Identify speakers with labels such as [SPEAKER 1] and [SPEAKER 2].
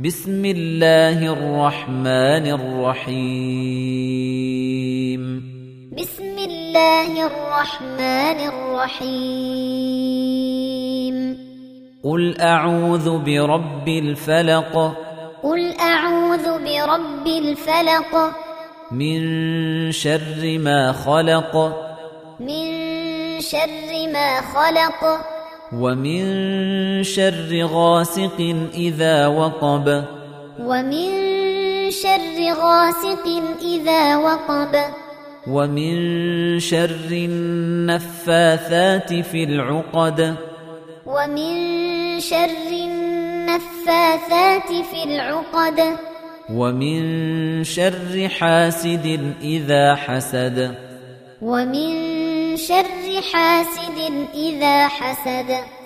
[SPEAKER 1] بسم الله الرحمن الرحيم
[SPEAKER 2] بسم الله الرحمن الرحيم
[SPEAKER 1] قل أعوذ برب الفلق
[SPEAKER 2] قل أعوذ برب الفلق
[SPEAKER 1] من شر ما خلق
[SPEAKER 2] من شر ما خلق
[SPEAKER 1] ومن شر غاسق إذا وقب
[SPEAKER 2] ومن شر غاسق إذا وقب
[SPEAKER 1] ومن شر النفاثات في العقد
[SPEAKER 2] ومن شر النفاثات في العقد
[SPEAKER 1] ومن شر حاسد إذا حسد
[SPEAKER 2] ومن شر حاسد إذا حسد